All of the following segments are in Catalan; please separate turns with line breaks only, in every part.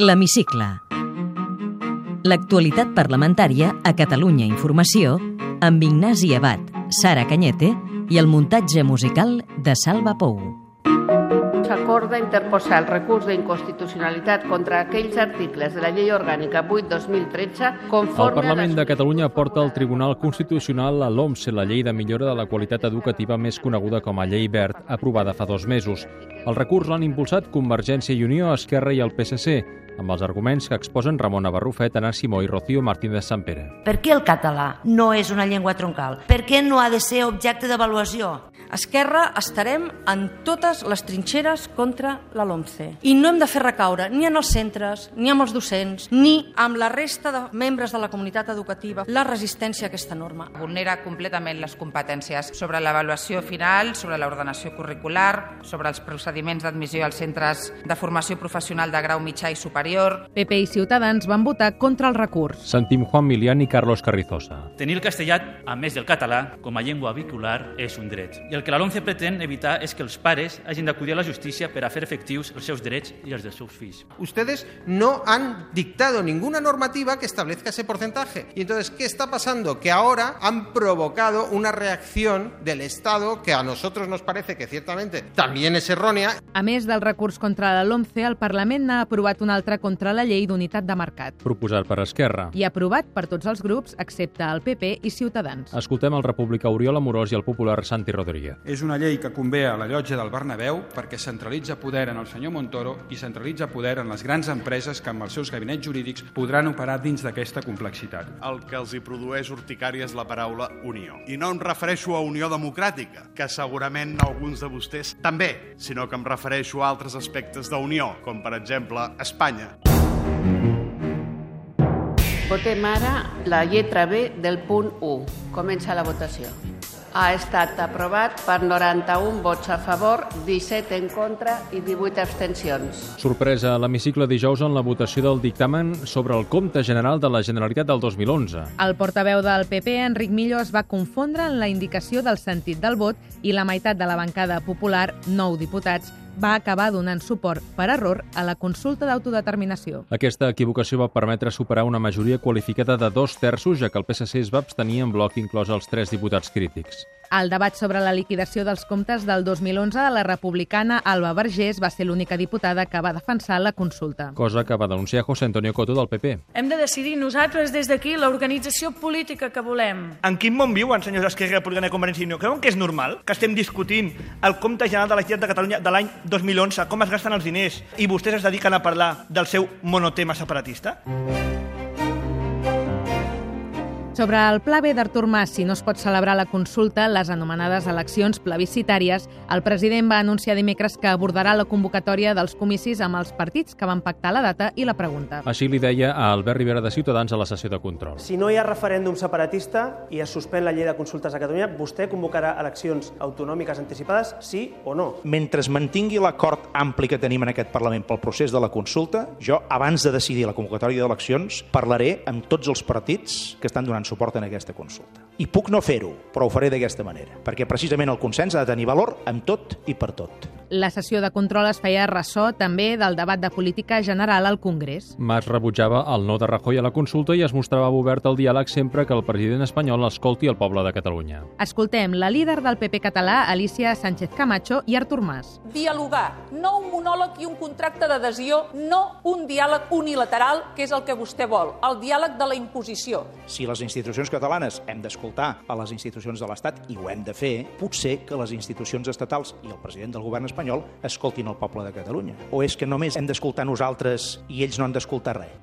L'Hemicicle. L'actualitat parlamentària a Catalunya Informació amb Ignasi Abad, Sara Canyete i el muntatge musical de Salva Pou.
S'acorda interposar el recurs d'inconstitucionalitat contra aquells articles de la llei orgànica 8-2013
El
conforme...
Parlament de
a les-
Catalunya porta al Tribunal Constitucional a l'OMSE, la llei de millora de la qualitat educativa més coneguda com a Llei Verd, aprovada fa dos mesos. El recurs l'han impulsat Convergència i Unió, Esquerra i el PSC, amb els arguments que exposen Ramona Barrufet, Anna Simó i Rocío Martínez Sampere.
Per què el català no és una llengua troncal? Per què no ha de ser objecte d'avaluació?
Esquerra estarem en totes les trinxeres contra la LOMCE. I no hem de fer recaure ni en els centres, ni amb els docents, ni amb la resta de membres de la comunitat educativa la resistència a aquesta norma.
vulnera completament les competències sobre l'avaluació final, sobre l'ordenació curricular, sobre els procediments d'admissió als centres de formació professional de grau mitjà i superior.
PP i Ciutadans van votar contra el recurs.
Sentim Juan Milián i Carlos Carrizosa.
Tenir el castellà, a més del català, com a llengua vehicular és un dret. I el que la LOMCE pretén evitar és que els pares hagin d'acudir a la justícia per a fer efectius els seus drets i els dels seus fills.
Ustedes no han dictado ninguna normativa que establezca ese porcentaje. Y entonces, ¿qué está pasando? Que ahora han provocado una reacción del Estado que a nosotros nos parece que ciertamente también es errónea.
A més del recurs contra la LOMCE, el Parlament n'ha aprovat un altre contra la llei d'unitat de mercat
Proposat per Esquerra.
i aprovat per tots els grups excepte el PP i Ciutadans.
Escoltem el republicà Oriol Amorós i el popular Santi Rodríguez.
És una llei que convé a la llotja del Bernabéu perquè centralitza poder en el senyor Montoro i centralitza poder en les grans empreses que amb els seus gabinets jurídics podran operar dins d'aquesta complexitat.
El que els hi produeix urticària és la paraula unió. I no em refereixo a unió democràtica, que segurament alguns de vostès també, sinó que em refereixo a altres aspectes d'unió, com per exemple Espanya.
Votem ara la lletra B del punt 1. Comença la votació. Ha estat aprovat per 91 vots a favor, 17 en contra i 18 abstencions.
Sorpresa a l'hemicicle dijous en la votació del dictamen sobre el compte general de la Generalitat del 2011.
El portaveu del PP, Enric Millo, es va confondre en la indicació del sentit del vot i la meitat de la bancada popular, nou diputats, va acabar donant suport per error a la consulta d'autodeterminació.
Aquesta equivocació va permetre superar una majoria qualificada de dos terços, ja que el PSC es va abstenir en bloc inclòs els tres diputats crítics.
El debat sobre la liquidació dels comptes del 2011 de la republicana Alba Vergés va ser l'única diputada que va defensar la consulta.
Cosa que va denunciar José Antonio Coto del PP.
Hem de decidir nosaltres des d'aquí l'organització política que volem.
En quin món viuen, senyors d'Esquerra Republicana i Convergència i Unió? Creuen que és normal que estem discutint el compte general de la Generalitat de Catalunya de l'any 2011, com es gasten els diners, i vostès es dediquen a parlar del seu monotema separatista?
Sobre el pla B d'Artur Mas, si no es pot celebrar la consulta, les anomenades eleccions plebiscitàries, el president va anunciar dimecres que abordarà la convocatòria dels comicis amb els partits que van pactar la data i la pregunta.
Així li deia a Albert Rivera de Ciutadans a la sessió de control.
Si no hi ha referèndum separatista i es suspèn la llei de consultes a Catalunya, vostè convocarà eleccions autonòmiques anticipades, sí o no?
Mentre es mantingui l'acord ampli que tenim en aquest Parlament pel procés de la consulta, jo, abans de decidir la convocatòria d'eleccions, parlaré amb tots els partits que estan donant suport en aquesta consulta. I puc no fer-ho, però ho faré d'aquesta manera, perquè precisament el consens ha de tenir valor amb tot i per tot.
La sessió de control es feia ressò també del debat de política general al Congrés.
Mas rebutjava el no de Rajoy a la consulta i es mostrava obert al diàleg sempre que el president espanyol escolti el poble de Catalunya.
Escoltem la líder del PP català, Alicia Sánchez Camacho, i Artur Mas.
Dialogar, no un monòleg i un contracte d'adhesió, no un diàleg unilateral, que és el que vostè vol, el diàleg de la imposició.
Si les institucions catalanes hem d'escoltar a les institucions de l'Estat i ho hem de fer, potser que les institucions estatals i el president del govern espanyol escoltin el poble de Catalunya. O és que només hem d'escoltar nosaltres i ells no han d'escoltar res?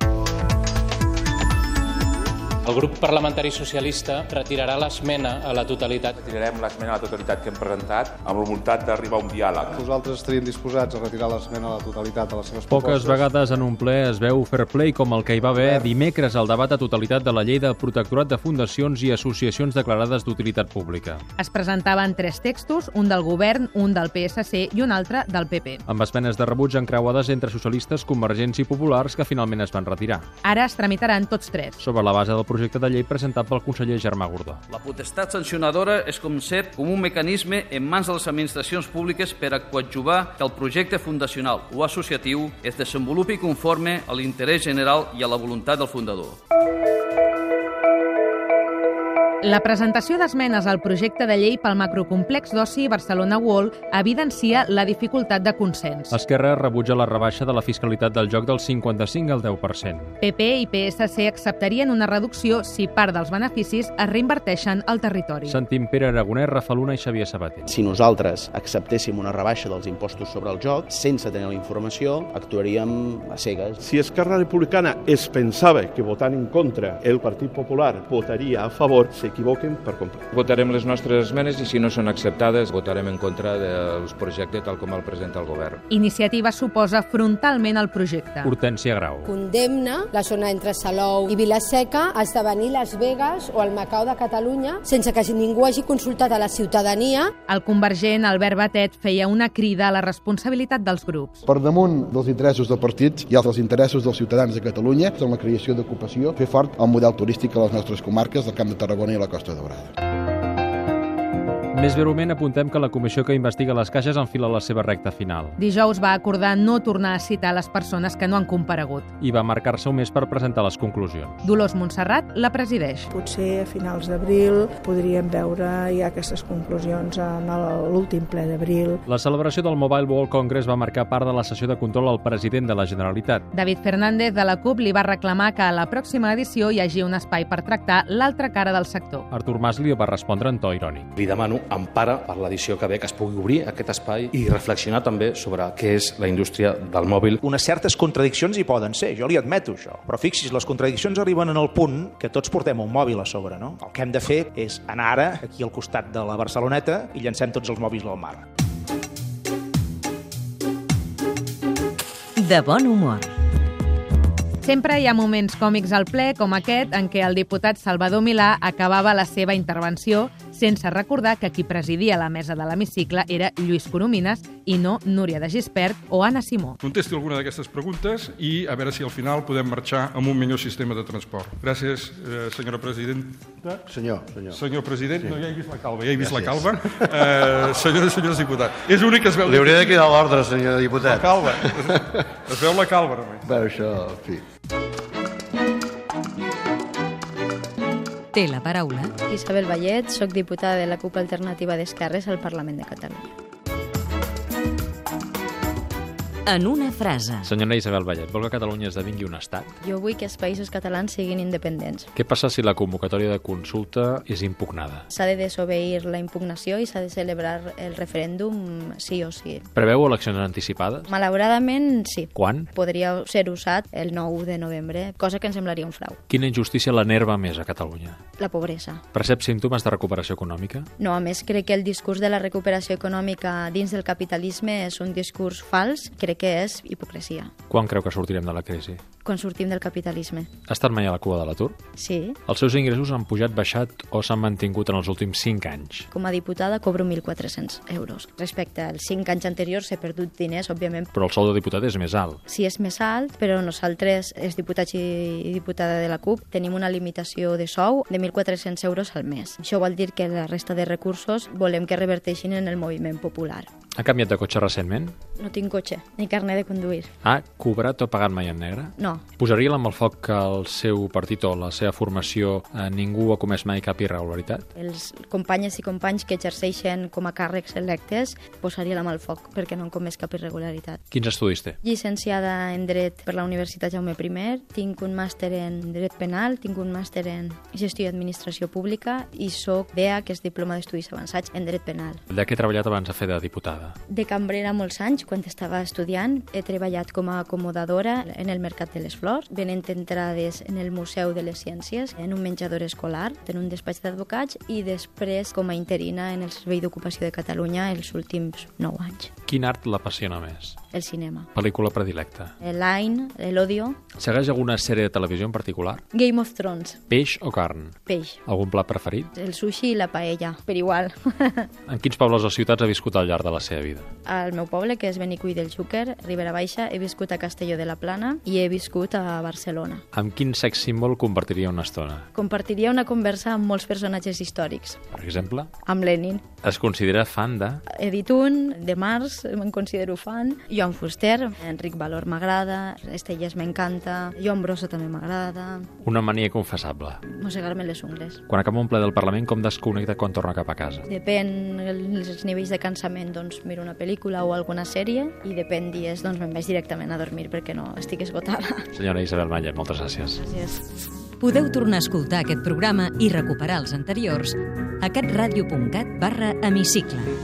El grup parlamentari socialista retirarà l'esmena a la totalitat.
Retirarem l'esmena a la totalitat que hem presentat amb la voluntat d'arribar a un diàleg.
Nosaltres estaríem disposats a retirar l'esmena a la totalitat de les seves
Poques vegades en un ple es veu fair play com el que hi va haver dimecres al debat a totalitat de la llei de protectorat de fundacions i associacions declarades d'utilitat pública.
Es presentaven tres textos, un del govern, un del PSC i un altre del PP.
amb esmenes de rebuig encreuades entre socialistes, convergents i populars que finalment es van retirar.
Ara es tramitaran tots tres.
Sobre la base del projecte de llei presentat pel conseller Germà Gordó.
La potestat sancionadora es concep com un mecanisme en mans de les administracions públiques per a coadjuvar que el projecte fundacional o associatiu es desenvolupi conforme a l'interès general i a la voluntat del fundador.
La presentació d'esmenes al projecte de llei pel macrocomplex d'oci Barcelona World evidencia la dificultat de consens.
Esquerra rebutja la rebaixa de la fiscalitat del joc del 55 al 10%.
PP i PSC acceptarien una reducció si part dels beneficis es reinverteixen al territori.
Sentim Pere Aragonès, Rafaluna i Xavier Sabater.
Si nosaltres acceptéssim una rebaixa dels impostos sobre el joc, sense tenir la informació, actuaríem a cegues.
Si Esquerra Republicana es pensava que votant en contra el Partit Popular votaria a favor, s'equivoquen per complet.
Votarem les nostres esmenes i si no són acceptades votarem en contra dels projectes tal com el presenta el govern.
Iniciativa s'oposa frontalment al projecte.
Hortència Grau.
Condemna la zona entre Salou i Vilaseca a esdevenir Las Vegas o el Macau de Catalunya sense que ningú hagi consultat a la ciutadania.
El convergent Albert Batet feia una crida a la responsabilitat dels grups.
Per damunt dels interessos del partit hi ha els interessos dels ciutadans de Catalunya en la creació d'ocupació, fer fort el model turístic a les nostres comarques del Camp de Tarragona i la Costa Daurada.
Més breument apuntem que la comissió que investiga les caixes enfila la seva recta final
Dijous va acordar no tornar a citar les persones que no han comparegut.
i va marcar-se un mes per presentar les conclusions.
Dolors Montserrat la presideix.
Potser Eh, a finals d'abril podríem veure ja aquestes conclusions en el- l'últim ple d'abril.
La celebració del Mobile World Congress va marcar part de la sessió de control al president de la Generalitat.
David Fernández de la CUP li va reclamar que a la pròxima edició hi hagi un espai per tractar l'altra cara del sector.
Artur Mas li va respondre en to irònic.
Li demano empara per l'edició que ve que es pugui obrir aquest espai i reflexionar també sobre què és la indústria del mòbil.
Unes certes contradiccions hi poden ser, jo li admeto això. Però fixi's, les contradiccions arriben en el punt que tots portem un mòbil a sobre, no? El que hem de fer és anar ara, aquí al costat de la Barceloneta, i llancem tots els mòbils al mar.
De bon humor.
Sempre hi ha moments còmics al ple, com aquest, en què el diputat Salvador Milà acabava la seva intervenció sense recordar que qui presidia la mesa de l'hemicicle era Lluís Coromines i no Núria de Gispert o Anna Simó.
Contesti alguna d'aquestes preguntes i a veure si al final podem marxar amb un millor sistema de transport. Gràcies, eh, senyora presidenta.
Senyor, senyor.
Senyor president,
Sí.
sí. no, ja he vist la calva, ja he vist
Gràcies.
la calva. Eh, senyores i senyors diputats, és únic que es veu...
Li hauria de cridar l'ordre, senyor diputat.
La calva. Es, es veu la calva, només.
Bé, això, en fi.
Té la paraula
Isabel Vallet, sóc diputada de la CUP Alternativa d'Esquerres al Parlament de Catalunya.
en una frase.
Senyora Isabel Vallet, vol que Catalunya esdevingui un estat?
Jo vull que els països catalans siguin independents.
Què passa si la convocatòria de consulta és impugnada?
S'ha de desobeir la impugnació i s'ha de celebrar el referèndum sí o sí.
Preveu eleccions anticipades?
Malauradament, sí.
Quan?
Podria ser usat el 9 de novembre, cosa que ens semblaria un frau.
Quina injustícia l'enerva més a Catalunya?
La pobresa.
Percep símptomes de recuperació econòmica?
No, a més, crec que el discurs de la recuperació econòmica dins del capitalisme és un discurs fals, crec que és hipocresia,
Quan creu que sortirem de la crisi?
quan sortim del capitalisme.
Ha estat mai a la cua de l'atur?
Sí,
Els seus ingressos han pujat, baixat o s'han mantingut en els últims 5 anys?
Com a diputada cobro 1.400 euros. Respecte als 5 anys anteriors he perdut diners, òbviament,
Però el sou de diputat és més alt.
si és més alt, però nosaltres, els diputats i diputada de la CUP, tenim una limitació de sou de 1.400 euros al mes. Això vol dir que la resta de recursos volem que reverteixin en el moviment popular.
Ha canviat de cotxe recentment?
No tinc cotxe, ni carnet de conduir.
Ha cobrat o pagat mai en negre?
No,
Posaria l'am al foc que el seu partit o la seva formació eh, ningú ha comès mai cap irregularitat?
els companyes i companys que exerceixen com a càrrecs electes posaria la mà al foc perquè no han comès cap irregularitat.
Quins estudis té?
Llicenciada en Dret per la Universitat Jaume I, tinc un màster en Dret Penal, tinc un màster en Gestió i Administració Pública i sóc DEA, que és Diploma d'Estudis Avançats en Dret Penal.
De què ha treballat abans de fer de diputada?
De cambrera molts anys, quan estava estudiant, he treballat com a acomodadora en el Mercat de les Flors, venent entrades en el Museu de les Ciències, en un menjador escolar, en un despatx d'advocats i després com a interina en el Servei d'Ocupació de Catalunya els últims nou anys.
Quin art l'apassiona més?
el cinema.
Pel·lícula predilecta.
L'Ain, l'Odio,
Segueix alguna sèrie de televisió en particular?
Game of Thrones,
Peix o carn?
peix,
Algun plat preferit?
el sushi i la paella, per igual.
En quins pobles o ciutats ha viscut al llarg de la seva vida?
Al meu poble, que és Benicull del Xúquer, Ribera Baixa, he viscut a Castelló de la Plana i he viscut a Barcelona.
Amb quin sex símbol compartiria una estona?
Compartiria una conversa amb molts personatges històrics,
Per exemple,
amb Lenin.
es considera fan de...
He dit un, de març, me'n considero fan. Joan Fuster, Enric Valor m'agrada, Estelles m'encanta, Joan Brossa també m'agrada,
Una mania confessable.
mossegar-me les ungles.
Quan acaba un ple del Parlament, com desconnecta quan torna cap a casa?
Depèn els nivells de cansament, doncs miro una pel·lícula o alguna sèrie i depèn dies, doncs me'n vaig directament a dormir perquè no estic esgotada.
Senyora Isabel Malla, moltes gràcies.
Gràcies.
Podeu tornar a escoltar aquest programa i recuperar els anteriors a catradio.cat barra hemicicle.